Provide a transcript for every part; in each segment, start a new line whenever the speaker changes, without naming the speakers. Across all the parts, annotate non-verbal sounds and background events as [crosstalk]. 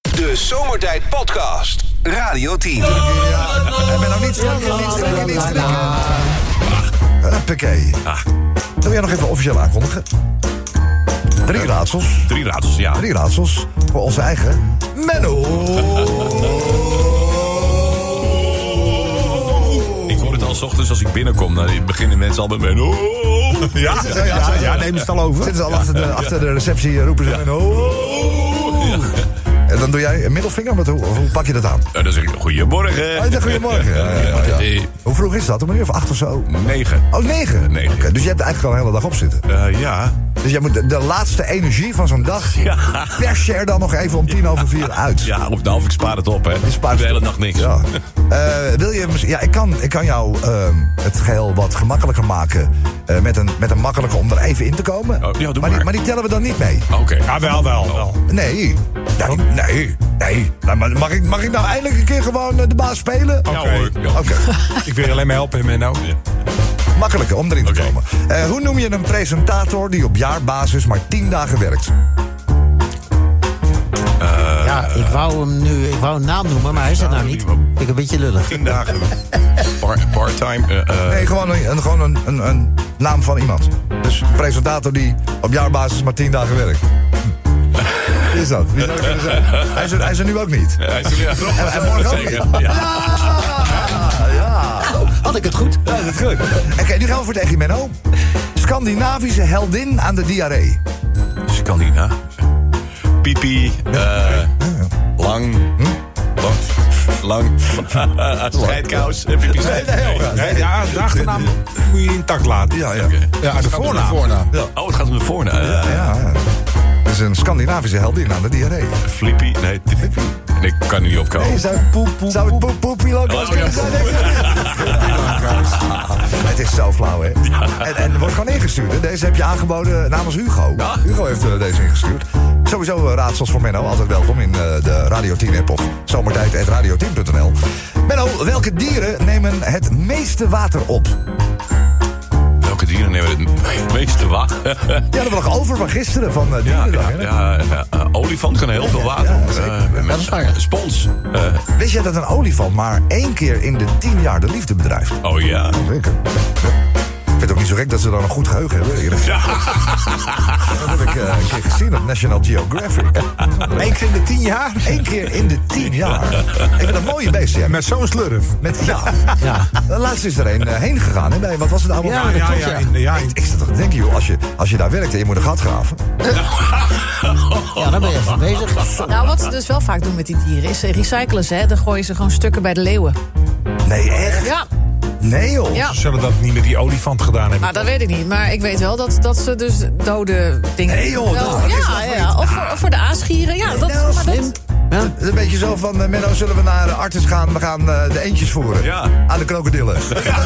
De Zomertijd Podcast. Radio 10.
Ik ben nou niet drinken, niet drinken, niet drinken. Huppakee. Wil jij nog even officieel aankondigen? Drie raadsels.
Drie raadsels, ja.
Drie raadsels voor onze eigen [laughs] Menno.
Ik hoor het al 's ochtends als ik binnenkom. Dan beginnen mensen al bij mij. Oh, ja,
Ja, ja, ja, neem het al over. Zitten ze al achter de, achter de receptie, eh, roepen ze Menno. En dan doe jij een middelvinger, want hoe, hoe pak je dat aan?
Ja, Oh, dan zeg ik goedemorgen.
Oh, je zegt goedemorgen. Ja, ja, ja. Hoe vroeg is dat? Om een uur of acht of zo?
Negen.
Oh, negen?
Negen.
Oké, dus je hebt er eigenlijk al een hele dag op zitten.
Eh, ja.
Dus jij moet de, de laatste energie van zo'n dag...
Ja.
pers je er dan nog even om tien over vier uit.
Ja, of nou, of ik spaar het op, hè. Ik
spaart
de
het
hele nacht niks.
Ja. Eh, wil je, mis- ja, ik kan, ik kan jou ehm, het geheel wat gemakkelijker maken. eh, met, een, met een makkelijke om er even in te komen.
Oh, ja, doe
maar, Die,
maar.
maar die tellen we dan niet mee.
Oké. Oh.
Ja, wel, wel, wel.
Nee. Nee, nee. nee. Nou, maar mag, ik, mag ik nou eindelijk een keer gewoon eh, de baas spelen?
Ja,
Oké.
hoor. Ja.
Oké,
Ik wil je alleen maar helpen, Menno.
makkelijker om erin te
Oké.
komen. Eh, hoe noem je een presentator die op jaarbasis maar tien dagen werkt?
Ja, ik wou hem nu, ik wou een naam noemen, maar hij is het nou niet. Vind ik een beetje lullig.
Tien
[laughs]
dagen. Part- Part-time. eh, eh,
Nee, gewoon een, een- gewoon een, een, een naam van iemand. Dus een presentator die op jaarbasis maar tien dagen werkt. Wie is dat? Wie zou het kunnen zijn? Hij is, er, hij is er nu ook niet.
hij is er weer.
En, en morgen ook
Zeker,
niet.
ja.
Ah, ja.
Had ik het goed?
Ja, dat is goed. Oké, nu gaan we voor het Echi Menno. Scandinavische heldin aan de diarree.
Scandina. Pipi. eh, lang. Lang. Lang. Scheidkous. Eh, Pipi.
Helga.
Nee, ja, de achternaam moet je intact laten.
Ja, ja.
Oké.
Ja, de voornaam.
Oh, het gaat om de voornaam. Eh,
Ja, dat is een Scandinavische heldin aan de diarree.
Flippy. Nee, Flippy. Ik kan er niet opkomen.
Nee, zou het poep, poep, zou het poep, poep, pilootkaas
Oh, ja. [laughs]
kunnen zijn? Nee, Het is zo flauw, hè? En, en er wordt gewoon ingestuurd. hè. Deze heb je aangeboden namens Hugo. Hugo heeft eh, deze ingestuurd. Sowieso eh, raadsels voor Menno. Altijd welkom in eh, de Radio 10-app of zomertijd.radio10.nl. Menno, welke dieren nemen het meeste water op?
Welke dieren nemen het meeste water?
Die hadden we nog over van gisteren, van eh,
Ja,
dierendag.
ja,
hè?
ja, ja, eh, olifant kan heel veel water.
ja,
op.
zeker.
Eh, met-
dat is waar, ja.
spons. Eh,
Wist jij dat een olifant maar één keer in de tien jaar de liefde bedrijft?
oh ja.
Zeker. Ik vind het ook niet zo gek dat ze dan een goed geheugen hebben. eerlijk gezegd. [laughs] Dat heb ik eh, een keer gezien op National Geographic.
Eén keer in de tien jaar.
Eén keer in de tien jaar. Ik vind dat mooie beesten. Ja. Met,
Met zo'n slurf.
ja.
Ja.
Laatst is er een eh, heen gegaan. Hè, bij, wat was het nou?
Ja, dat klopt, ja.
in de- ja, in-
Ik zat toch te denken, joh, als je, als je daar werkt en je moet een gat graven.
Ja, daar ben je van bezig. Zo.
Nou, wat ze dus wel vaak doen met die dieren is eh, recyclen ze. Hè? Dan gooien ze gewoon stukken bij de leeuwen.
Nee, echt?
Ja,
Nee, joh.
ja.
Ze zullen dat niet met die olifant gedaan hebben.
Maar Nou, dat weet ik niet. Maar ik weet wel dat, dat ze dus dode dingen...
Nee, joh,
wel-
dat- dat is
ja, ja, Of voor, of voor de aasgieren. Ja, dat,
nou,
maar
Slim.
dat,
Ja.
Het is Een beetje zo van, eh, Menno, zullen we naar eh, Artis gaan? We gaan eh, de eentjes voeren.
Ja.
Aan de
[laughs]
krokodillen. Ja.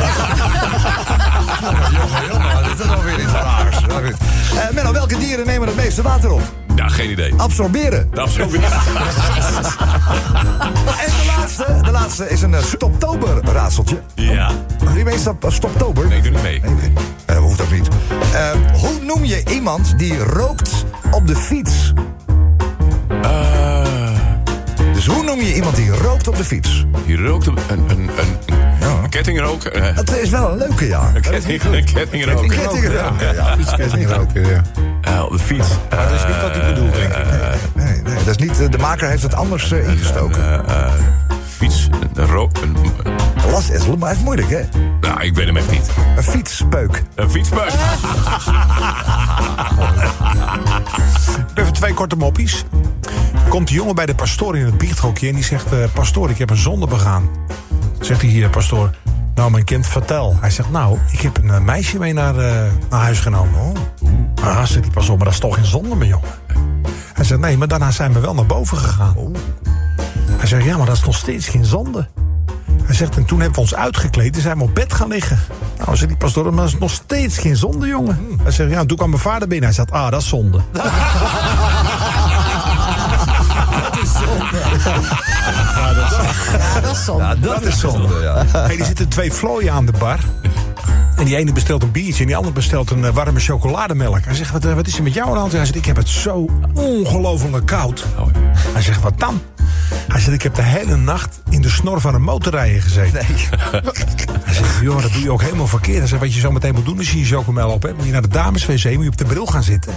jongen, jongen, dat is wel weer iets raars. Maar goed. Eh, Menno, welke dieren nemen het meeste water op?
Ja, geen idee.
Oh. Absorberen. Nou,
Dat is ook weer-
En de laatste, de laatste is een eh, stoptober-raadseltje.
Ja.
Wie weet stop, eh, stoptober?
Nee, doe niet mee.
Nee, nee. Eh, hoeft ook niet. Eh, hoe noem je iemand die rookt op de fiets?
Eh,
Dus hoe noem je iemand die rookt op de fiets?
hier rookt een, een, een, een,
Ja.
een kettingrook. eh,
Dat is wel een leuke, ja.
een ketting, een kettingrook.
Een kettingrook. Ja, ja, kettingrook, ja.
Eh, op de fiets.
dat is niet wat ik bedoel, denk ik.
Nee, nee, dat is niet. eh, De maker heeft het anders eh, ingestoken.
Eh, eh, fiets. Een rook. Een,
Last is, maar het is moeilijk, hè?
nou, ik weet hem echt niet.
Een fietspeuk.
Een fietsbeuk.
Even twee korte moppies. Komt de jongen bij de pastoor in het biechthokje en die zegt... eh, pastoor, ik heb een zonde begaan. Zegt hij hier, pastoor. Nou, mijn kind, vertel. Hij zegt, nou, ik heb een eh, meisje mee naar, eh, naar huis genomen. Oh. Ah, zegt hij, pas op, maar dat is toch geen zonde, mijn jongen. Hij zegt, nee, maar daarna zijn we wel naar boven gegaan. Hij zegt, ja, maar dat is nog steeds geen zonde. Hij zegt, en toen hebben we ons uitgekleed en zijn we op bed gaan liggen. Nou, zegt die pastoor, maar dat is nog steeds geen zonde, jongen. Hij zegt, ja, toen kwam mijn vader binnen. Hij zegt, ah, dat is zonde.
ja, dat is zonde.
Dat is zonde, ja.
[laughs] Hey, er zitten twee vlooien aan de bar. En die ene bestelt een biertje en die andere bestelt een eh, warme chocolademelk. Hij zegt, wat,
Oh,
eh, wat is er met jou aan de hand? Hij zegt, ik heb het zo ongelooflijk koud. Hij zegt, wat dan? Hij zegt, ik heb de hele nacht in de snor van een motorrijder gezeten. [laughs] Hij zegt, joh, dat doe je ook helemaal verkeerd. Hij zegt, wat je zo meteen moet doen is je chocomel op hebt. Moet je naar de dameswc, moet je op de bril gaan zitten.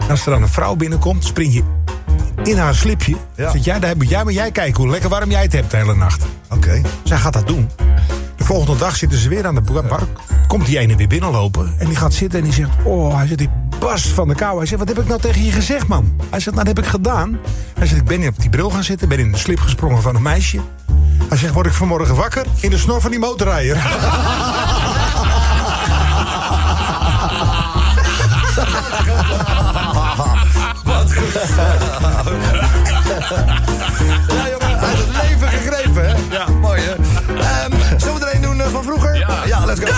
En als er dan een vrouw binnenkomt, spring je in haar slipje.
Ja.
Zit jij, daar moet jij maar jij kijken hoe lekker warm jij het hebt de hele nacht.
Oké.
Zij gaat dat doen. De volgende dag zitten ze weer aan de bar. Komt die ene weer binnenlopen. En die gaat zitten en die zegt... Oh, hij zegt, ik barst van de kou. Hij zegt, wat heb ik nou tegen je gezegd, man? Hij zegt, nou, dat heb ik gedaan. Hij zegt, ik ben op die bril gaan zitten. Ben in de slip gesprongen van een meisje. Hij zegt, word ik vanmorgen wakker in de snor van die motorrijder.
Ja, jongen, uit het leven gegrepen, hè? Ja. Mooi, hè? Ehm, zullen we er een doen eh, van vroeger? Ja. let's go.
Dat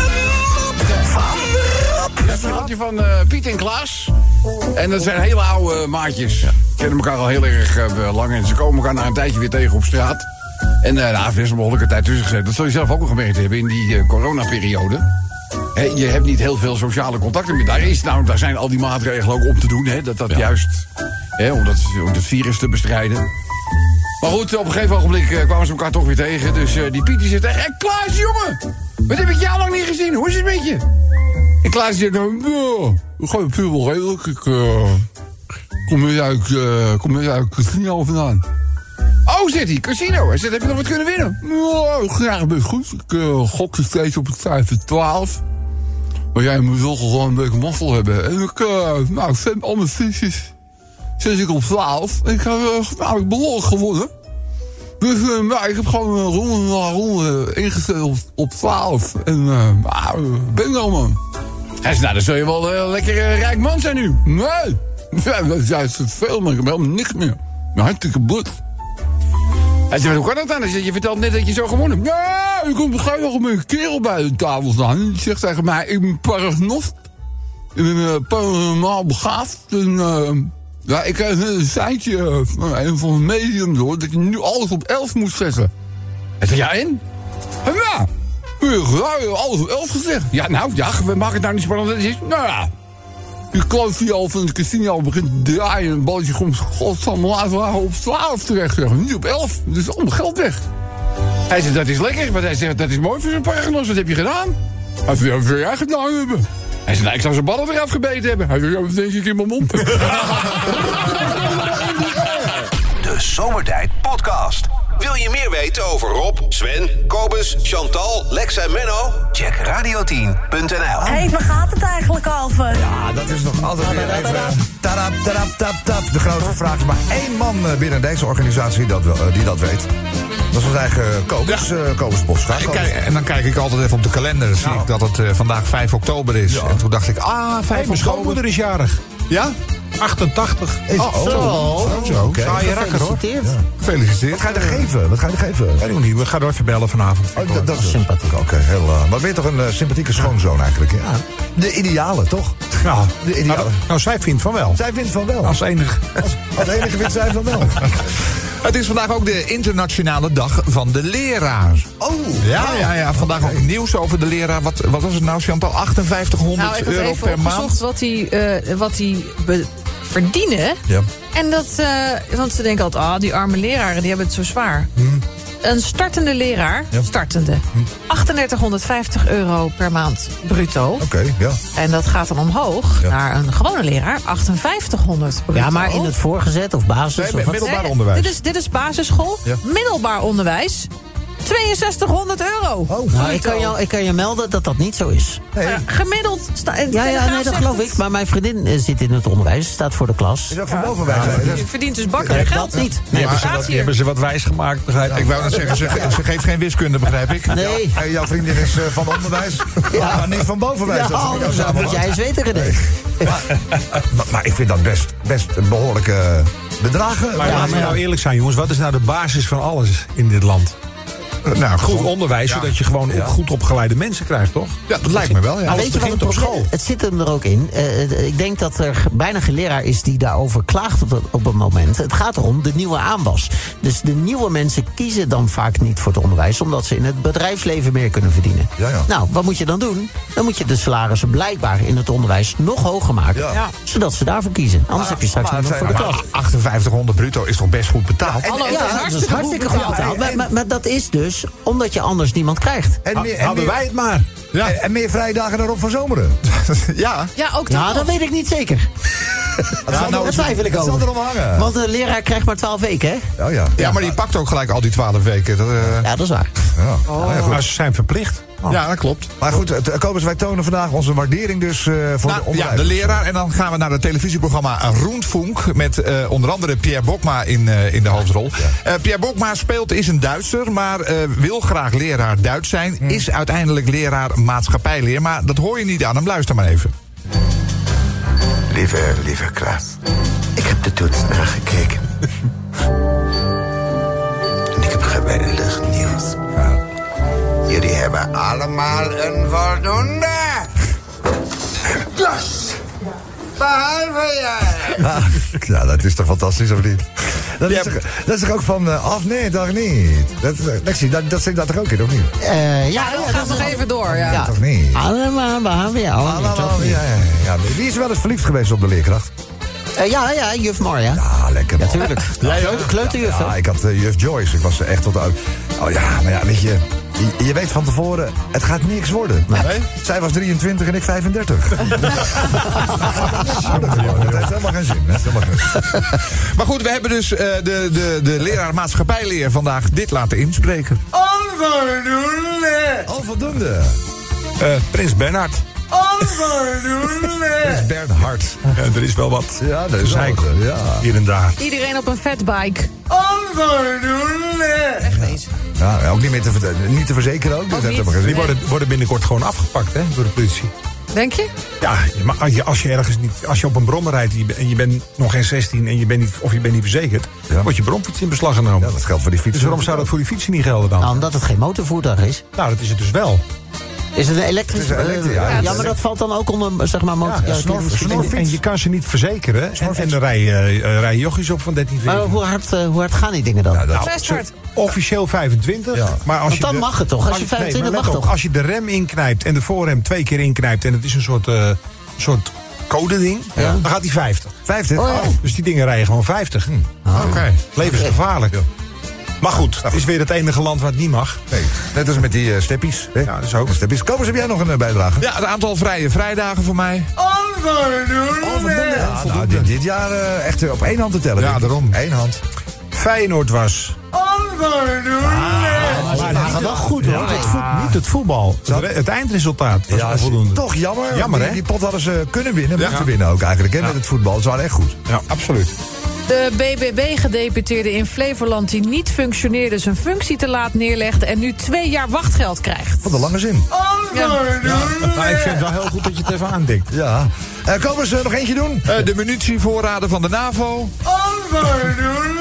is een verhaaltje van eh, Piet en Klaas. En dat zijn hele oude maatjes. Ze kennen elkaar al heel erg eh, lang. En ze komen elkaar na een tijdje weer tegen op straat. En eh nou, er is een behoorlijke tijd tussen gezet. Dat zul je zelf ook nog gemerkt hebben in die eh, coronaperiode. Hè, je hebt niet heel veel sociale contacten meer. Daar, is, nou, daar zijn al die maatregelen ook om te doen. Hè, dat dat juist, hè, om, dat, om dat virus te bestrijden. Maar goed, op een gegeven ogenblik eh, kwamen ze elkaar toch weer tegen. Dus eh, die Piet die zegt echt... "Hé, Klaas, jongen! Wat heb ik jou lang niet gezien? Hoe is het met je? En Klaas zegt... nou, "Nou, ik ga puur wel redelijk. Ik eh, kom net uit, eh, kom net uit casino vandaan. Oh, zit hij, casino. Hij zegt, heb je nog wat kunnen winnen? Nou, graag best goed. Ik eh, gokte steeds op het cijfer 12. Maar jij moet wel gewoon een beetje mazzel hebben. En ik, eh, nou, ik vind al mijn fiches sinds ik op 12. En ik heb, eh, nou, ik behoorlijk gewonnen. Dus eh, nou, ik heb gewoon een ronde na ronde ingesteld op, op 12. En eh, nou, eh, bingo man. Hij zei, nou, dan zul je wel eh, lekker eh, rijk man zijn nu. Nee, ja, dat is juist veel, maar ik heb helemaal niks meer. Mijn hartstikke blut. Hij zei, hoe kan dat dan? Hij zei, je vertelt net dat je zo gewonnen hebt. Nee, ik kom gewoon nog met een kerel bij de tafel staan. En die zegt tegen mij, ik ben paragnost. Ik ben eh, paranormaal begaafd. En, eh, ja, ik krijg net een seintje eh, van een van de medium door... dat je nu alles op 11 moet zetten. Hij zei, ja, en? En ja, ik heb alles op 11 gezegd. Ja, nou, ja, we maken het nou niet spannend. dat is. Nou ja, die kloof die al van het casino begint te draaien... en het balletje komt godsamme laten we op 12 terecht. Zeg. Niet op 11, dus al mijn geld weg. Hij zegt, dat is lekker. Want hij zegt, dat is mooi voor zo'n paragnos. Wat heb je gedaan? Hij zegt, ja, wat wil jij gedaan hebben? Hij zegt, nou, ik zou zijn ballen eraf gebeten hebben. Hij zegt, ja, wat denk ik in mijn mond?
De Zomertijd Podcast. Wil je meer weten over Rob, Sven, Kobus, Chantal, Lex en Menno? Check radio10.nl.
Hé, hey, waar gaat het eigenlijk over?
Ah, dat is nog altijd weer even... eh, Tarap, tarap, tap, tap. De grote vraag is maar één man eh, binnen deze organisatie dat wel, eh, die dat weet. Dat is onze eigen Kobus,
Ja.
eh, Kobus Nou. Bosga.
Ik kijk- en dan kijk ik altijd even op de kalender. Dan zie ik dat het eh, vandaag 5 oktober is. En toen dacht ik, ah, 5
Hey, mijn
oktober.
schoonmoeder is jarig.
Ja?
88.
Is- oh,
zo.
zo. Oké.
Saaie rakker hoor.
Gefeliciteerd.
Gefeliciteerd.
Wat ga je er geven? Wat ga je er geven?
Weet ik nog niet, we gaan door even bellen vanavond.
Oh, dat, dat is sympathiek. Oké, heel. eh, maar ben je toch een eh, sympathieke schoonzoon eigenlijk? Ja. De ideale, toch?
Nou,
De ideale.
nou, zij vindt van wel.
Zij vindt van wel.
Als enige.
Als, als enige vindt zij van [laughs] wel.
Het is vandaag ook de internationale dag van de leraar.
Oh,
Ja, ja, ja. Vandaag ook nieuws over de leraar. Wat, wat was het nou, Chantal? 5800
Nou, ik had
euro
even
per
opgezocht
maand.
wat die, eh, wat die be- verdienen.
Ja.
En dat, eh, want ze denken altijd, ah, die arme leraren, die hebben het zo zwaar. Een startende leraar, startende, 3850 euro per maand bruto.
Oké, ja.
En dat gaat dan omhoog naar een gewone leraar, 5800 bruto.
Ja, maar in het voorgezet of basis of wat?
middelbaar
Nee,
onderwijs.
Dit is, dit is basisschool, middelbaar onderwijs, 6200 euro.
Oh,
Nou, ik kan, je, ik kan je melden dat dat niet zo is.
hey,
Maar gemiddeld... sta- eh,
Ja, ja
Telegraaf
nee, dat
zegt
geloof
het.
ik. Maar mijn vriendin eh, zit in het onderwijs, staat voor de klas.
is ook van boven wij.
Je verdient dus bakken met geld.
Dat niet. Nee,
maar
Ze hebben ze wat wijs gemaakt, begrijp ik.
Ik wou net zeggen, ze, ge- ze geeft geen wiskunde, begrijp ik.
nee.
Hey, jouw vriendin is eh, van onderwijs, maar niet van bovenwijs. dat is
Ja, oh,
met jou
dat moet
samenhangt.
jij eens weten, René.
maar, maar ik vind dat best, best behoorlijke
Maar
bedragen. Ja,
nou
laten we
maar-
nou eerlijk zijn, jongens. Wat is nou de basis van alles in dit land?
nou,
goed
gewoon-
onderwijs,
ja.
zodat je gewoon ook goed opgeleide mensen krijgt, toch?
Ja, dat lijkt me wel, ja.
Nou,
Maar
Alles
weet je wat
begint
het
op
probleem-
school.
Het zit hem er ook in. Eh, eh, ik denk dat er ge- bijna geen leraar is die daarover klaagt op, dat- op een moment. Het gaat erom de nieuwe aanwas. Dus de nieuwe mensen kiezen dan vaak niet voor het onderwijs... omdat ze in het bedrijfsleven meer kunnen verdienen.
Ja, ja.
Nou, wat moet je dan doen? Dan moet je de salarissen blijkbaar in het onderwijs nog hoger maken...
Ja. Ja.
zodat ze daarvoor kiezen. Anders heb je straks
maar het
niemand voor de
zijn-
klas.
Maar 5800 bruto is toch best goed betaald?
En-
Hallo,
ja,
dat is
dat is hartstikke goed betaald.
en-
Maar, maar, maar dat is dus omdat je anders niemand krijgt.
En meer, en
Hadden
meer,
wij het maar.
Ja.
en- en meer vrije dagen dan Rob van [laughs] Zomeren.
ja.
Ja, ook dat.
Nou, dat weet ik niet
[laughs]
zeker.
zal
nou,
er-
daar twijfel ik
het zal
over.
erom hangen.
Want een leraar krijgt maar 12 weken, hè?
Oh ja.
Ja, maar die pakt ook gelijk al die 12 weken. Dat, eh,
Ja, dat is waar.
Ja. Oh. Nou Ja, goed.
Maar ze zijn verplicht.
Ja, dat klopt.
Maar goed, het- eh, Kobus, wij tonen vandaag onze waardering dus eh, voor de
Nou, ja,
onderwijs.
de leraar. En dan gaan we naar het televisieprogramma Roentfunk. Met eh, onder andere Pierre Bokma in, eh, in de hoofdrol. Eh, Pierre Bokma speelt, is een Duitser. Maar eh, wil graag leraar Duits zijn.
Hmm.
Is uiteindelijk leraar maatschappijleer. Maar dat hoor je niet aan hem. Luister maar even.
Lieve, lieve Klaas. Ik heb de toets nagekeken. en ik heb geweldig nieuws. Jullie hebben allemaal een voldoende. Klaas! Behalve jij.
[laughs] Ah, ja, dat is toch fantastisch, of niet? Dat, is, toch, dat is toch ook van, eh, af nee, dag niet. Dat, is, eh, Lexi, dat, dat zit daar toch ook in, of niet?
Eh, ja, Ah, ja,
dat gaat nog even door, ja.
Ja.
Toch niet?
Allemaal behalve jou.
Ah,
Nee,
la, la,
toch
la,
niet.
ja, ja, ja. Wie is wel eens verliefd geweest op de leerkracht?
Eh, ja, ja, juf Marja.
Ah, lekker man.
Natuurlijk. Jij ook? Kleuterjuf,
Ja,
hè?
ik had eh, juf Joyce. Ik was er echt tot oud. Oh ja, maar ja, weet je... Je, je weet van tevoren, het gaat niks worden. Nou, Zij was 23 en ik 35. dat heeft helemaal geen zin. Dat heeft helemaal geen zin.
Maar goed, we hebben dus eh, de, de, de leraar maatschappijleer vandaag dit laten inspreken.
Onvoldoende.
Onvoldoende.
Eh, Prins Bernhard.
Onvoldoende.
Bernhard.
Eh, er is wel wat.
Ja, dat is
Gezeik.
wel wat, ja.
Hier en daar.
Iedereen op een fatbike.
Onvoldoende.
Echt eens.
Ja, ook niet meer te, ver- niet te verzekeren ook. Dus dat heeft
niet.
helemaal
Die
geen zin.
worden, worden binnenkort gewoon afgepakt hè, door de politie.
Denk je?
Ja, je mag- als je, als je ergens niet. Als je op een brommer rijdt en je, bent- en je bent nog geen 16 en je bent niet, of je bent niet verzekerd,
Ja.
wordt je bromfiets in beslag
Ja,
genomen.
dat geldt voor die fiets.
dus waarom zou dat voor die fietsen niet gelden dan?
Nou, omdat het geen motorvoertuig is.
Nou, dat is het dus wel.
Is het een elektrisch...
Het is een elektri-
eh,
ja, het is
maar
een-
dat valt dan ook onder, zeg maar, motor...
ja,
ik weet
snor-
niet.
snor-
En, en je kan ze niet verzekeren. En, en dan rij je eh, rij je jochies op van 13,
Maar
14.
hoe hard, eh, hoe hard gaan die dingen dan?
Ja, dat-
Best hard.
Officieel 25.
Ja.
Maar als
Want
je
dan mag het toch? Als je
nee,
25
maar let
mag
op,
toch?
Als je de rem inknijpt en de voorrem twee keer inknijpt... en het is een soort, eh soort codeding, dan gaat die 50.
50?
ja. Ah.
Oh.
Dus die dingen rijden gewoon Hm. 50.
Oké.
Levensgevaarlijk. Maar goed, het is weer het enige land waar het niet mag.
Nee, net als met die eh steppies. Hè? Ja,
dat is ook.
Steppies. Kobus, heb jij nog een eh, bijdrage?
Ja, het aantal vrije vrijdagen voor mij.
Oh,
Onvoldoende. Ja, nou, dit, dit jaar eh, echt op één hand te tellen.
Ja,
denk ik.
daarom.
Eén hand.
Feyenoord was. Ah,
Maar dat gaat wel goed, hoor.
Het voet- niet het voetbal. Het, re- het eindresultaat was
is
onvoldoende.
Toch jammer.
Jammer,
die,
hè?
Die pot hadden ze kunnen winnen. Moeten winnen ook eigenlijk. Hè, Met het voetbal. Ze waren echt goed.
Ja, absoluut.
De BBB-gedeputeerde in Flevoland die niet functioneerde... zijn functie te laat neerlegde en nu twee jaar wachtgeld krijgt.
Wat een lange zin.
[laughs] Maar ik vind het wel heel goed dat je het even aandikt.
Ja. Eh Kobus, eh, nog eentje doen?
Eh, de munitievoorraden van de NAVO.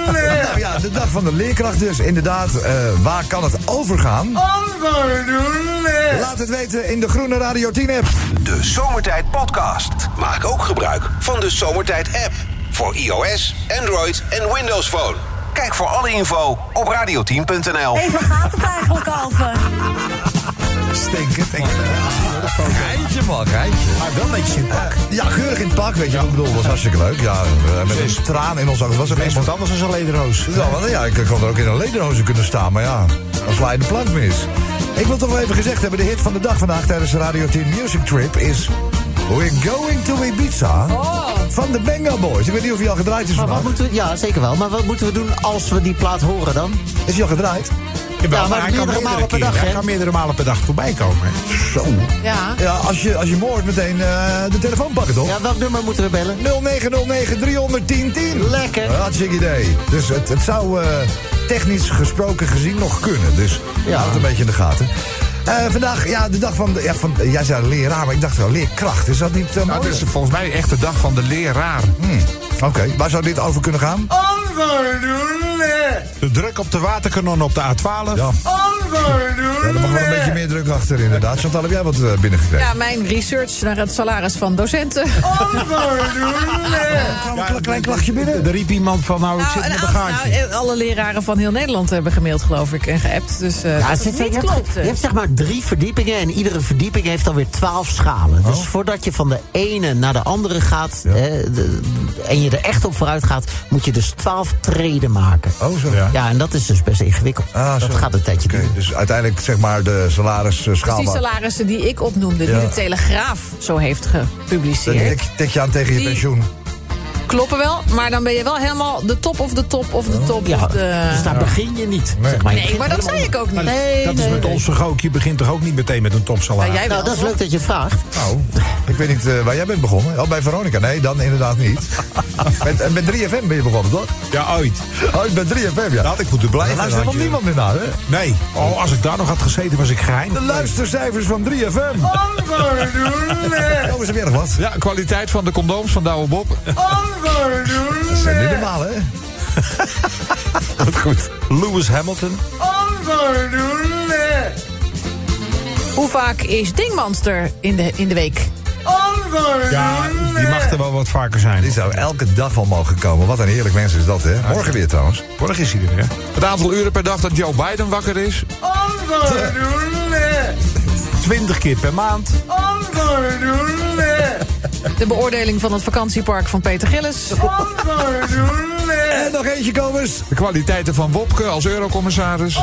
Nou ja, de dag van de leerkracht dus. Inderdaad, eh, waar kan het overgaan? Laat het weten in de Groene Radio 10 app.
De Zomertijd Podcast. Maak ook gebruik van de Zomertijd app. Voor iOS, Android en Windows Phone. Kijk voor alle info op radio10.nl.
Hé, waar gaat het eigenlijk over?
Stinkend. Geintje man, geintje.
Maar wel netjes in het pak.
Ja, geurig in het pak, weet je wat ik bedoel. was hartstikke leuk. Ja, eh, met een traan in ons ogen. was ook echt
Iemand anders is een lederoos.
Ja, want ja, ik kan er ook in een lederhozen kunnen staan, maar ja, dan sla je de plank mis. Ik wil toch wel even gezegd hebben, de hit van de dag vandaag tijdens de Radio 10 Music Trip is... We're going to Ibiza van de Benga Boys. Ik weet niet of hij al gedraaid is
Oh. Maar wat
vandaag.
moeten we, ja, zeker wel. Maar wat moeten we doen als we die plaat horen dan?
Is hij al gedraaid?
Ja, maar
hij kan
meerdere
meerdere
malen per
keer-
dag,
Hij
hè?
kan meerdere malen per dag voorbij komen. hè.
Zo.
Ja.
Ja, als je, als je moord meteen eh, de telefoon pakken, toch?
Ja, welk nummer moeten we bellen?
0909 310
Lekker.
Hartstikke idee. Dus het, het zou eh, technisch gesproken gezien nog kunnen. Dus
Ja.
houd het een beetje in de gaten. Eh, vandaag, ja, de dag van, de- ja, van... Jij zei leraar, maar ik dacht wel leerkracht. Is dat niet eh,
Nou,
mooi? Hmm.
dit is volgens mij echt de dag van de leraar.
Oké, waar zou dit over kunnen gaan?
Onvoldoende.
De de druk op de waterkanon op de A12. Ja.
Ja, er mag wel een beetje meer druk achter, inderdaad. Chantal, heb jij wat eh, binnengekregen?
Ja, mijn research naar het salaris van docenten.
Oh,
Nou,
Ja, een klein klachtje binnen.
Er riep iemand van, nou, ik
Nou,
zit
een
met een
aantal-
gaatje.
nou, alle leraren van heel Nederland hebben gemaild, geloof ik, en geappt. Dus eh,
Ja,
dat
ze-
het
ze-
niet
je, hebt,
klopt. Eh,
je hebt zeg maar drie verdiepingen en iedere verdieping heeft dan weer twaalf schalen. Dus voordat je van de ene naar de andere gaat hè, de- en je er echt op vooruit gaat, moet je dus twaalf treden maken.
Oh, zo.
Ja.
Ja, en dat is dus best ingewikkeld.
Ah,
dat
zo.
gaat een tijdje
Oké,
duren.
dus uiteindelijk zeg maar de eh,
Dus
salarisschaal.
die
waar-
salarissen die ik opnoemde,
Ja.
die de Telegraaf zo heeft
Dan
gepubliceerd,
tik, tik je aan tegen je
Die-
pensioen.
kloppen wel. Maar dan ben je wel helemaal de top of de top of de top
Ja,
of de...
dus daar begin je niet.
Nee.
zeg maar. Je
Nee,
begint
maar dat
helemaal
zei ik ook niet.
Nee,
Dat is
nee,
met
nee.
ons toch ook. Je begint toch ook niet meteen met een
Nou,
topsalaris.
jij wel.
Nou, dat is leuk dat je het vraagt.
Nou, ik weet niet eh, waar jij bent begonnen. Oh, bij Veronica. Nee, dan inderdaad niet.
[laughs]
met, eh, met 3FM ben je begonnen, toch?
Ja, ooit.
Oh, ik ben 3FM, ja.
Dat had ik moeten
Daar
blijven.
luistert
had
helemaal
je-
niemand meer naar, hè?
Nee. Oh, als ik daar nog had gezeten, was ik geheim.
De luistercijfers van 3FM. Oh, is er weer nog wat?
Ja, kwaliteit van de condooms van Douwe Bob.
Dat zijn niet normaal,
[laughs]
hè?
Wat goed. Lewis Hamilton.
Hoe vaak is Dingmanster in de, in de week?
Ja, die mag er wel wat vaker
Die
zijn.
zou elke dag al mogen komen. Wat een heerlijk mens is dat, hè? Morgen weer trouwens.
Morgen is hij er, hè?
Het aantal uren per dag dat Joe Biden wakker is.
20 keer per maand.
De beoordeling van het vakantiepark van Peter Gillis.
En nog eentje, komers.
De kwaliteiten van Wopke als eurocommissaris.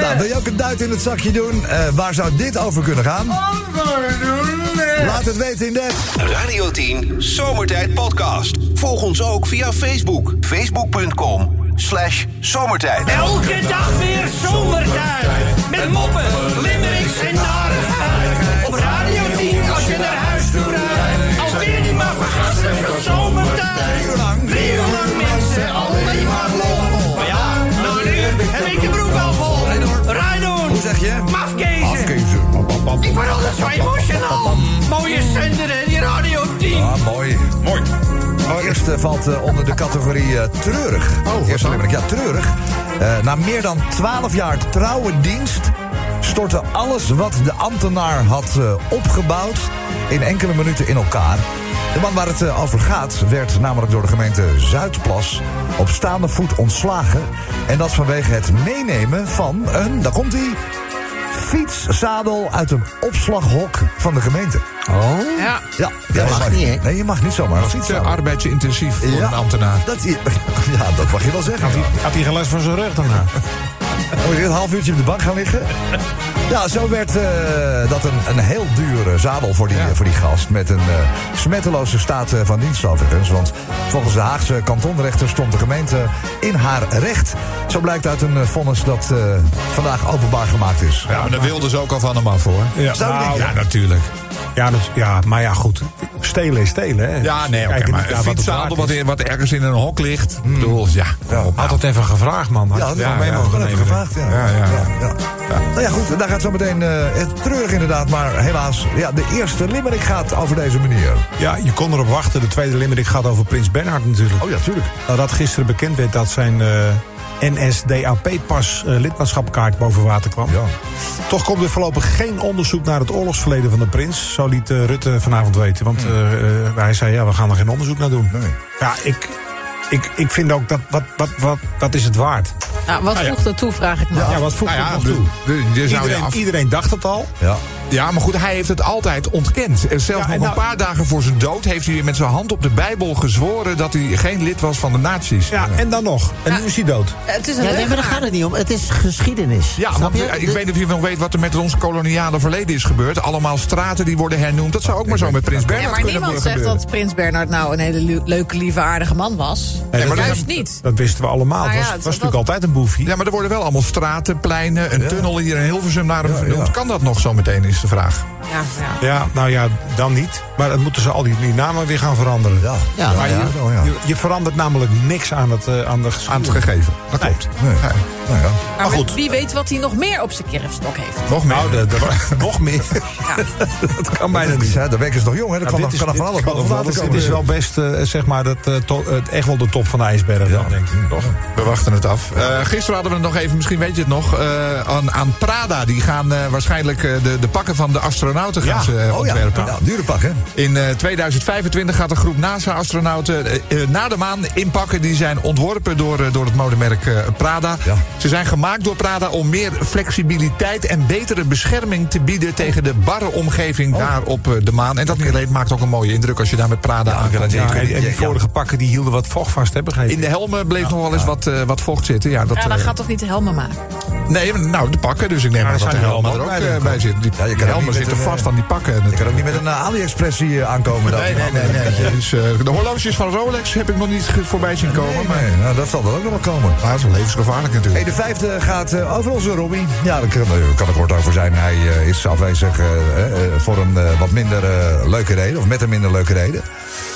Nou, wil je ook een duit in het zakje doen? Eh, waar zou dit over kunnen gaan? Laat het weten in de...
Radio 10 Zomertijd Podcast. Volg ons ook via Facebook. Facebook.com slash zomertijd.
Elke dag weer zomertijd. Met moppen, limericks en narigheid. Op Radio 10 als je naar huis toe rijdt. Alweer die maar vergasten van zomertijd. Drie uur lang mensen, alleen maar lol. Maar ja, nou nu heb ik de broek al vol. Rijdoen. Hoe zeg je? Mafkezen. Ik word altijd zo emotional. Mooie zender en die Radio 10.
Ah, mooi.
Mooi.
De eerste valt eh, onder de categorie eh, treurig. Oh, eerste limmering. Ja, treurig. Eh, na meer dan 12 jaar trouwe dienst stortte alles wat de ambtenaar had eh, opgebouwd in enkele minuten in elkaar. De man waar het eh, over gaat werd namelijk door de gemeente Zuidplas op staande voet ontslagen. En dat vanwege het meenemen van een, daar komt hij, fietszadel uit een opslaghok van de gemeente.
Ja.
Ja, ja,
mag niet, hè?
Nee, je mag niet zomaar. een
Niet te
fietszadel.
arbeidsintensief voor een ambtenaar.
Dat, i- [laughs] ja, dat mag je wel zeggen.
Had hij gelast van zijn rug daarna?
Moet je een half uurtje op de bank gaan liggen? Ja, zo werd eh, dat een, een heel dure zadel voor die, voor die gast. Met een eh, smetteloze staat eh, van dienst overigens. Want volgens de Haagse kantonrechter stond de gemeente in haar recht. Zo blijkt uit een eh, vonnis dat eh, vandaag openbaar gemaakt is.
Ja, daar wilden ze ook al van hem af, hoor.
Ja,
Zou
nou,
ik-
ja,
natuurlijk.
ja, dat, ja, maar ja, goed. Stelen is stelen, hè?
Ja, nee, oké,
Kijk niet
maar
naar
een
wat het
fietsadel
waard
wat,
is. Hmm.
in- wat ergens in een hok ligt. Ik bedoel, ja. kom op, nou.
Had het even gevraagd, man. Had je
Ja, dat
het
ja,
wel
mee mogen
nemen,
even
hè?
gevraagd. Ja.
Ja, ja, ja.
Nou ja, goed, daar gaat zo meteen eh, het treurig inderdaad. Maar helaas, ja, de eerste limerick gaat over deze manier.
Ja, je kon erop wachten. De tweede limerick gaat over Prins Bernhard natuurlijk.
Oh ja, tuurlijk.
Nadat Nou, gisteren bekend werd dat zijn eh NSDAP-pas eh, lidmaatschapkaart boven water kwam.
Ja.
Toch komt er voorlopig geen onderzoek naar het oorlogsverleden van de prins. Zo liet eh, Rutte vanavond weten. Want
Hmm.
eh, eh, hij zei, ja, we gaan er geen onderzoek naar doen. Ja, ik, ik, ik vind ook, dat wat, wat, wat, wat is het waard?
Nou, wat voegt dat toe, vraag ik me
Ja,
af.
wat voegt
Nou ja,
het
de-
nog toe?
de- de- zou je
Iedereen,
af-
iedereen dacht het al.
Ja.
Ja, maar goed, hij heeft het altijd ontkend. En zelfs
Ja,
nog
en
een
nou-
paar dagen voor zijn dood heeft hij met zijn hand op de Bijbel gezworen dat hij geen lid was van de nazi's.
Ja, en dan nog. En nu is hij dood.
Het is
Ja,
een
nee, maar daar
leugenaar.
gaat het niet om. Het is geschiedenis.
Ja,
Snap
want
je?
eh, ik weet niet of je nog weet wat er met ons koloniale verleden is gebeurd. Allemaal straten die worden hernoemd. Dat zou ook maar zo met Prins
Ja,
Bernhard
maar
kunnen
niemand
worden
zegt
gebeuren.
dat Prins Bernhard nou een hele lu- leuke, lieve, aardige man was.
Nee, maar
Juist
dat-
niet.
Dat wisten we allemaal.
Maar
Het
Nou
was,
ja,
was
het was
natuurlijk altijd een boefje.
Ja, maar er worden wel allemaal straten, pleinen, een tunnel hier in Hilversum naar hem
Ja,
vernoemd.
ja.
Kan dat nog zo meteen eens? is de vraag.
Ja, ja.
Ja, nou ja, dan niet. Maar dan moeten ze al die, die namen weer gaan veranderen. Ja,
Ja.
maar
Ja.
Je, je, je verandert namelijk niks aan het, eh, aan de
Oh, Aan het gegeven. Dat klopt. Nou ja.
Maar, wie weet wat hij nog meer op zijn kerfstok heeft.
Nog meer.
Nou,
[laughs]
[laughs] nog meer. dat kan bijna niet. Nou,
De week is nog jong, hè? Dat kan,
dit
nog- kan nog van alles
dit
boven water
Dit
komen.
is wel best, eh, zeg maar, dat, eh, to- het, echt wel de top van de ijsberg. Ja. denk ik. Toch?
We wachten het af. Eh, gisteren hadden we het nog even, misschien weet je het nog, eh, aan, aan Prada. Die gaan eh, waarschijnlijk eh, de, de pakken van de astronauten gaan
Ja.
ze eh,
Oh ja.
ontwerpen.
Ja, dure pak, hè?
In eh, 2025 gaat een groep NASA-astronauten eh, eh, naar de maan inpakken. Die zijn ontworpen door, eh, door het modemerk eh, Prada. Ze zijn gemaakt door Prada om meer flexibiliteit en betere bescherming te bieden tegen de barre
Oh.
omgeving daar op eh, de maan. En dat niet alleen maakt ook een mooie indruk als je daar met Prada aan kan.
Ja, en, en die vorige pakken die hielden wat vocht vast, hè, begreep ik.
In de helmen bleef nog wel eens wat, eh, wat vocht zitten. Ja, dat,
ja, dan
eh,
gaat toch niet de helmen maken?
Nee, maar nou, de pakken. Dus ik neem aan
daar
dat de
zijn de
helmen er ook
helmen ook
eh,
bij,
bij zitten. Die
Ja, je kan
die
ook
helmen
niet met
zitten
een,
vast
eh,
aan die pakken.
Ik kan ook niet met een eh, AliExpress hier aankomen. dan.
Nee, nee, nee. nee, nee. [laughs] Dus, eh, de horloges van Rolex heb ik nog niet ge- voorbij zien komen. maar
Nee, nou, dat zal er ook nog wel komen.
maar dat is levensgevaarlijk
Hey,
natuurlijk.
de vijfde gaat eh, over onze Robbie. Ja, daar kan, daar kan het kort over zijn. Hij eh, is afwezig eh, eh, voor een eh, wat minder eh, leuke reden. Of met een minder leuke reden.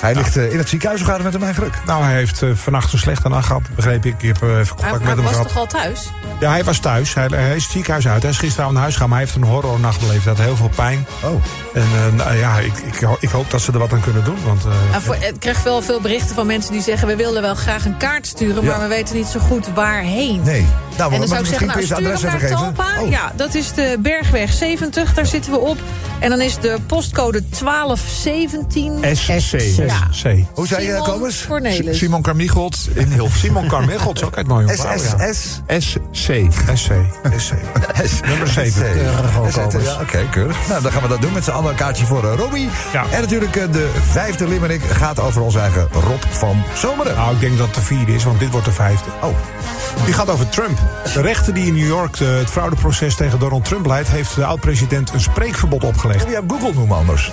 Hij ligt eh, in het ziekenhuis. Hoe gaat het met hem eigenlijk?
Nou, hij heeft eh, vannacht een slechte nacht gehad, begreep ik. Ik heb eh, even
Hij,
contact
hij
met hem
was
gehad.
toch al thuis?
Ja, hij was thuis. Hij, hij is het ziekenhuis uit. Hij is gisteravond naar huis gegaan, maar hij heeft een horrornacht beleefd. Hij had heel veel pijn.
Oh.
En eh, nou ja, ik, ik, ho- ik hoop dat ze er wat aan kunnen doen. Want, eh,
En Nou, voor, ik kreeg wel veel berichten van mensen die zeggen... we willen wel graag een kaart sturen, maar we weten niet zo goed waarheen.
Nee. Nou, maar
en dan zou
misschien
ik zeggen,
kun
nou,
je zijn
stuur
adres
hem
even
naar
geven. Oh.
Talpa. Ja, dat is de Bergweg 70, daar zitten we op. En dan is de postcode 1217.
SC.
Ja.
SC.
Hoe zei je,
Simon
Komers?
Cornelis.
Simon Carmichelt in Hilversum.
[laughs]
Simon Carmichael is ook uit Mooi Opbouw, ja.
SSS.
SC.
SC. SC. Nummer
SC.
7.
SC, ja, Oké, keurig. Nou, dan gaan we dat doen met z'n allen. Een kaartje voor eh, Robbie.
Ja.
En natuurlijk eh, de vijfde limerick gaat over onze eigen Rob van Zomeren.
Nou, ik denk dat het de vierde is, want dit wordt de vijfde.
Oh,
Die gaat over Trump. De rechter die in New York eh, het fraudeproces tegen Donald Trump leidt... heeft de oud-president een spreekverbod opgelegd.
kun je Google noemen anders? [laughs]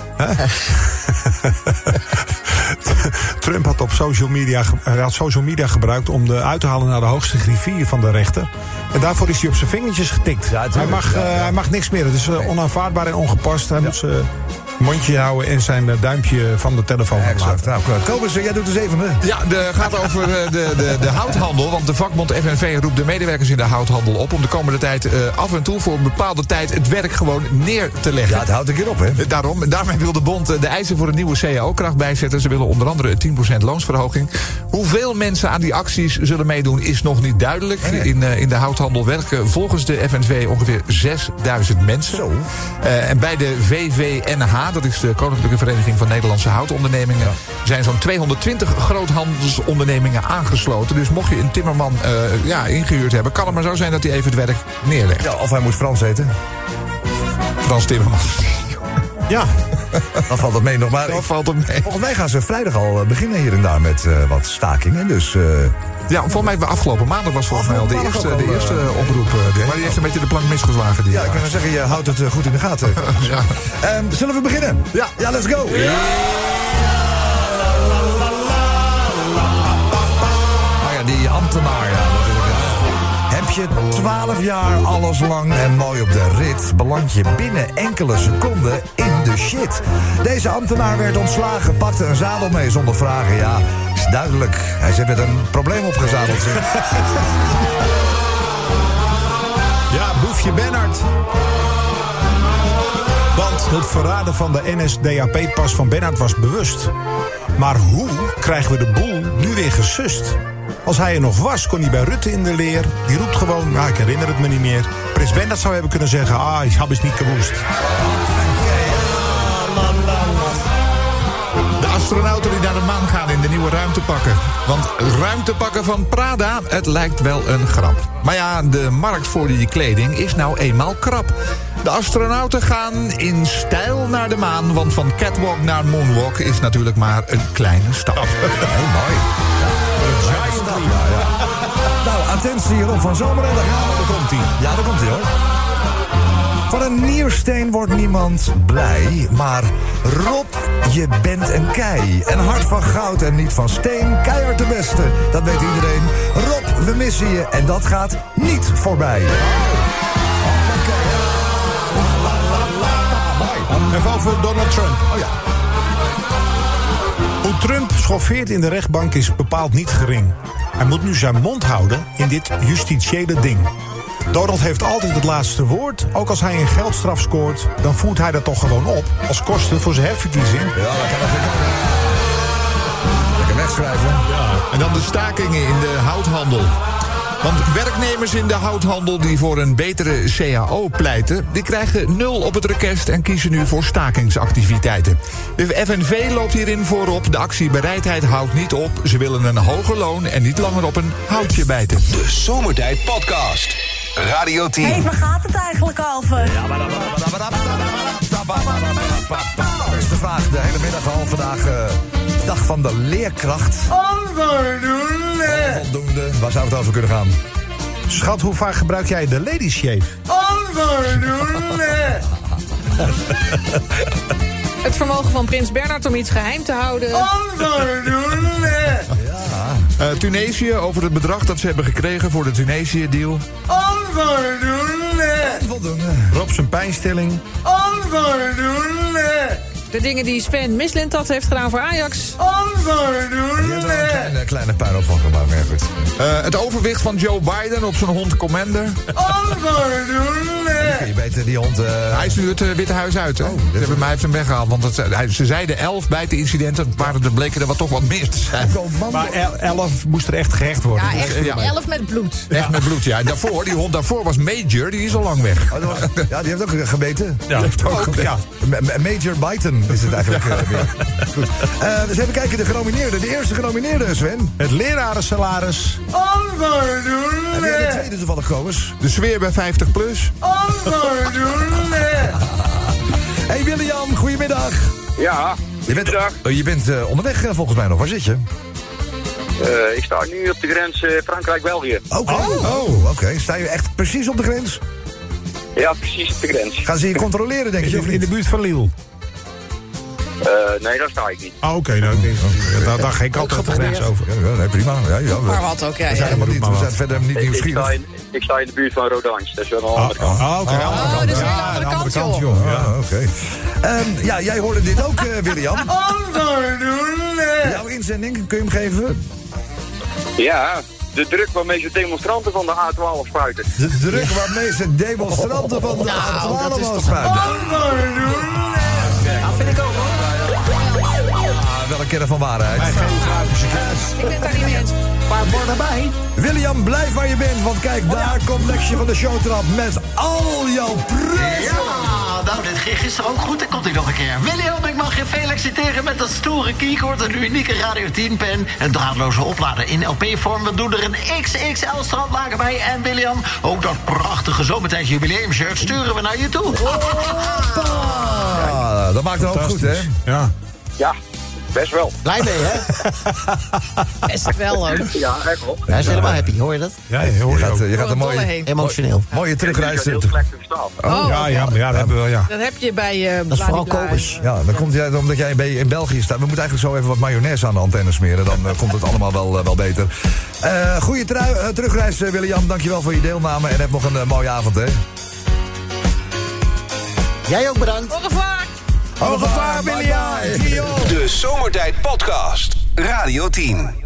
Trump had op social media, ge- hij had social media gebruikt om de uit te halen naar de hoogste griffier van de rechter. En daarvoor is hij op zijn vingertjes getikt. hij,
tuurlijk,
mag,
ja,
eh,
ja.
hij mag niks meer. Het is eh, onaanvaardbaar en ongepast. Hij moet zijn mondje houden en zijn eh, duimpje van de telefoon
Exact.
laten.
Nou, Kobus, eh, jij doet de zevende.
Ja, de gaat over eh, de, de, de houthandel. Want de vakbond FNV roept de medewerkers in de houthandel op... om de komende tijd eh, af en toe voor een bepaalde tijd het werk gewoon neer te leggen.
Ja, het houdt een keer op, hè?
Eh, Daarom, daarmee wil de bond eh, de eisen voor een nieuwe CAO-kracht bijzetten. Ze willen onder andere een 10% loonsverhoging. Hoeveel mensen aan die acties zullen meedoen is nog niet duidelijk. In, eh, in de houthandel werken volgens de FNV ongeveer 6000 mensen.
Zo.
Eh, en bij de VVNH, dat is de Koninklijke Vereniging van Nederlandse Houtondernemingen... zijn zo'n 220 groothandelsondernemingen aangesloten. Dus mocht je een timmerman eh, ja, ingehuurd hebben... kan het maar zo zijn dat hij even het werk neerlegt.
Ja, of hij moet Frans eten.
Frans Timmerman.
Ja,
Dan valt dat mee nog maar.
[laughs] Dat valt hem mee.
Volgens mij gaan ze vrijdag al eh, beginnen hier en daar met eh, wat stakingen. Dus eh,
Ja, volgens mij afgelopen maandag was volgens mij al de
Afgelopen
eerste, de
maandag ook
eerste
al,
eh, oproep. eh, maar die heeft een beetje de plank misgeslagen. Die
ja, ik
jaar.
kan wel zeggen, je houdt het eh, goed in de gaten.
Ja.
Ehm, zullen we beginnen?
Ja.
Ja, let's go. Ah ja, die ambtenaar, ja, natuurlijk. ja. Heb je 12 jaar alles lang en mooi op de rit, beland je binnen enkele seconden in de shit. Deze ambtenaar werd ontslagen, pakte een zadel mee zonder vragen. Ja, is duidelijk. Hij zit met een probleem opgezadeld. zeg.
ja Boefje Bernhard. Want het verraden van de NSDAP-pas van Bernhard was bewust. Maar hoe krijgen we de boel nu weer gesust? Als hij er nog was, kon hij bij Rutte in de leer. Die roept gewoon, nou, ik herinner het me niet meer. Prins Bernhard zou hebben kunnen zeggen, ah, ik heb eens niet gewoest.
De astronauten die naar de maan gaan in de nieuwe ruimtepakken. Want ruimtepakken van Prada, het lijkt wel een grap. Maar ja, de markt voor die kleding is nou eenmaal krap. De astronauten gaan in stijl naar de maan. Want van catwalk naar moonwalk is natuurlijk maar een kleine stap. Oh,
Heel mooi. Ja, ja, ja. Nou, attentie Rob van Zomeren, daar gaan we. Daar komt hij. Ja, daar komt hij hoor. Van een niersteen wordt niemand blij, maar Rob, je bent een kei. En hart van goud en niet van steen, keihard de beste, dat weet iedereen. Rob, we missen je en dat gaat niet voorbij.
Even over Donald Trump. Oh ja. Hoe Trump schoffeert in de rechtbank is bepaald niet gering. Hij moet nu zijn mond houden in dit justitiële ding. Donald heeft altijd het laatste woord. Ook als hij een geldstraf scoort, dan voert hij dat toch gewoon op. Als kosten voor zijn herverkiezing.
Lekker wegschrijven. En dan de stakingen in de houthandel. Want werknemers in de houthandel die voor een betere CAO pleiten... die krijgen nul op het request en kiezen nu voor stakingsactiviteiten. De FNV loopt hierin voorop. De actie Bereidheid houdt niet op. Ze willen een hoger loon en niet langer op een houtje bijten.
De Zomertijd Podcast. Radio 10.
Hé, waar gaat het eigenlijk over?
Dat is de vraag de hele middag al. Vandaag eh, dag van de leerkracht.
Onvoldoende.
Voldoende. Waar zou het over kunnen gaan?
Schat, hoe vaak gebruik jij de lady shave?
Onvoldoende.
Het vermogen van prins Bernard om iets geheim te houden.
Onvoldoende.
Eh, Tunesië over het bedrag dat ze hebben gekregen voor de Tunesië-deal.
Onvoldoende.
Rob zijn pijnstilling.
Onvoldoende.
De dingen die Sven Mislintat heeft gedaan voor
Oh.
Ajax.
Onvoldoende.
Een eh, kleine puinhoop van gemaakt, maar goed.
Eh, het overwicht van Joe Biden op zijn hond Commander.
Onvoldoende.
Kun je beter die hond... eh, Oh,
Hij is nu het eh, Witte Huis uit. Hè? ze hebben mij heeft hem weggehaald. Want het, hij- ze zeiden elf bij het incident. Het waren er bleken er wat, toch wat meer te zijn.
Maar el- elf moest er echt gerecht worden. Dus, eh,
Ja, echt
Ja.
elf met bloed.
Echt met bloed, ja. En daarvoor, die hond daarvoor was Major. Die is al lang weg.
oh, dat was- ja, die heeft ook eh, gebeten.
Ja.
Ook, ja. M- M- Major Biden is het eigenlijk. eh, meer. Goed. Eh, dus even kijken, de genomineerden. De eerste genomineerde, Sven.
Het lerarensalaris.
En weer de
Onvoldoende.
tweede toevallig, Kobus.
De sfeer bij 50 plus.
Onvoldoende.
Hey William, goedemiddag.
Ja,
Je bent,
Goedendag.
eh, je bent eh, onderweg eh, volgens mij nog. Waar zit je?
eh, ik sta nu op de grens eh, Frankrijk-België.
Oké. Oh, oké. Sta je echt precies op de grens?
Ja, precies op de grens.
Gaan ze je controleren, denk je? Of
In de
niet?
buurt van Lille.
Eh, nee, daar sta ik niet.
Ah, oké. nou, ik denk- daar, daar geen kant op de grens over.
Ja, ja, nee, prima. Ja, ja, we,
Maar wat ook, ja.
we
ja.
zijn helemaal niet, we zijn verder niet
Ik, ik sta
nieuwsgierig.
in, ik sta in de buurt van Rodans, dat is wel een andere kant.
Ah, oké. andere
Oh,
kant.
dat is
Ja,
weer de andere kant, joh.
Oh, ja, oké. Ehm, ja, jij hoorde dit ook, eh, William.
Onvoldoende.
Jouw inzending, kun je hem geven?
Ja, de druk waarmee ze demonstranten van de A12 spuiten.
De druk waarmee ze demonstranten van de
Nou, dat is
A12
toch-
spuiten.
Onvoldoende.
Ah, wel een kern van waarheid.
Ik ben het daar niet mee eens. Maar word erbij.
William, blijf waar je bent, want kijk, daar komt Lexje van de Showtrap met al jouw prijzen.
Ja, nou, dit ging gisteren ook goed. Dan komt hij nog een keer. William, ik mag je feliciteren met dat stoere keycord... een unieke Radio 10-pen, een draadloze oplader in LP-vorm. We doen er een XXL-strandlaken bij. En William, ook dat prachtige zomertijd jubileumshirt sturen we naar je toe.
Ah, dat maakt het ook goed, hè?
Ja.
Ja, best wel.
Blij mee, hè?
Best wel ook.
Ja, echt wel.
Hij is helemaal happy, hoor je dat?
Ja, je hoor
Je
je
gaat,
ook.
eh, je gaat
Door
een
het dolle
mooie,
heen.
Emotioneel.
mooie terugreis. eh,
Ik ben heel slecht te verstaan.
Oh,
Ja, ja, maar ja, dat hebben we wel, ja.
dat heb je bij eh
Dat is vooral
Bladibla.
Kobus.
Ja, dan komt jij, omdat jij bij- in België staat. We moeten eigenlijk zo even wat mayonaise aan de antenne smeren. Dan eh, komt het allemaal wel, eh, wel beter. Eh goede trui, eh, terugreis, eh, William. Dankjewel voor je deelname. En heb nog een eh, mooie avond, hè?
Jij ook bedankt.
Au revoir.
Au revoir, William. Dio.
De Zomertijd Podcast. Radio 10.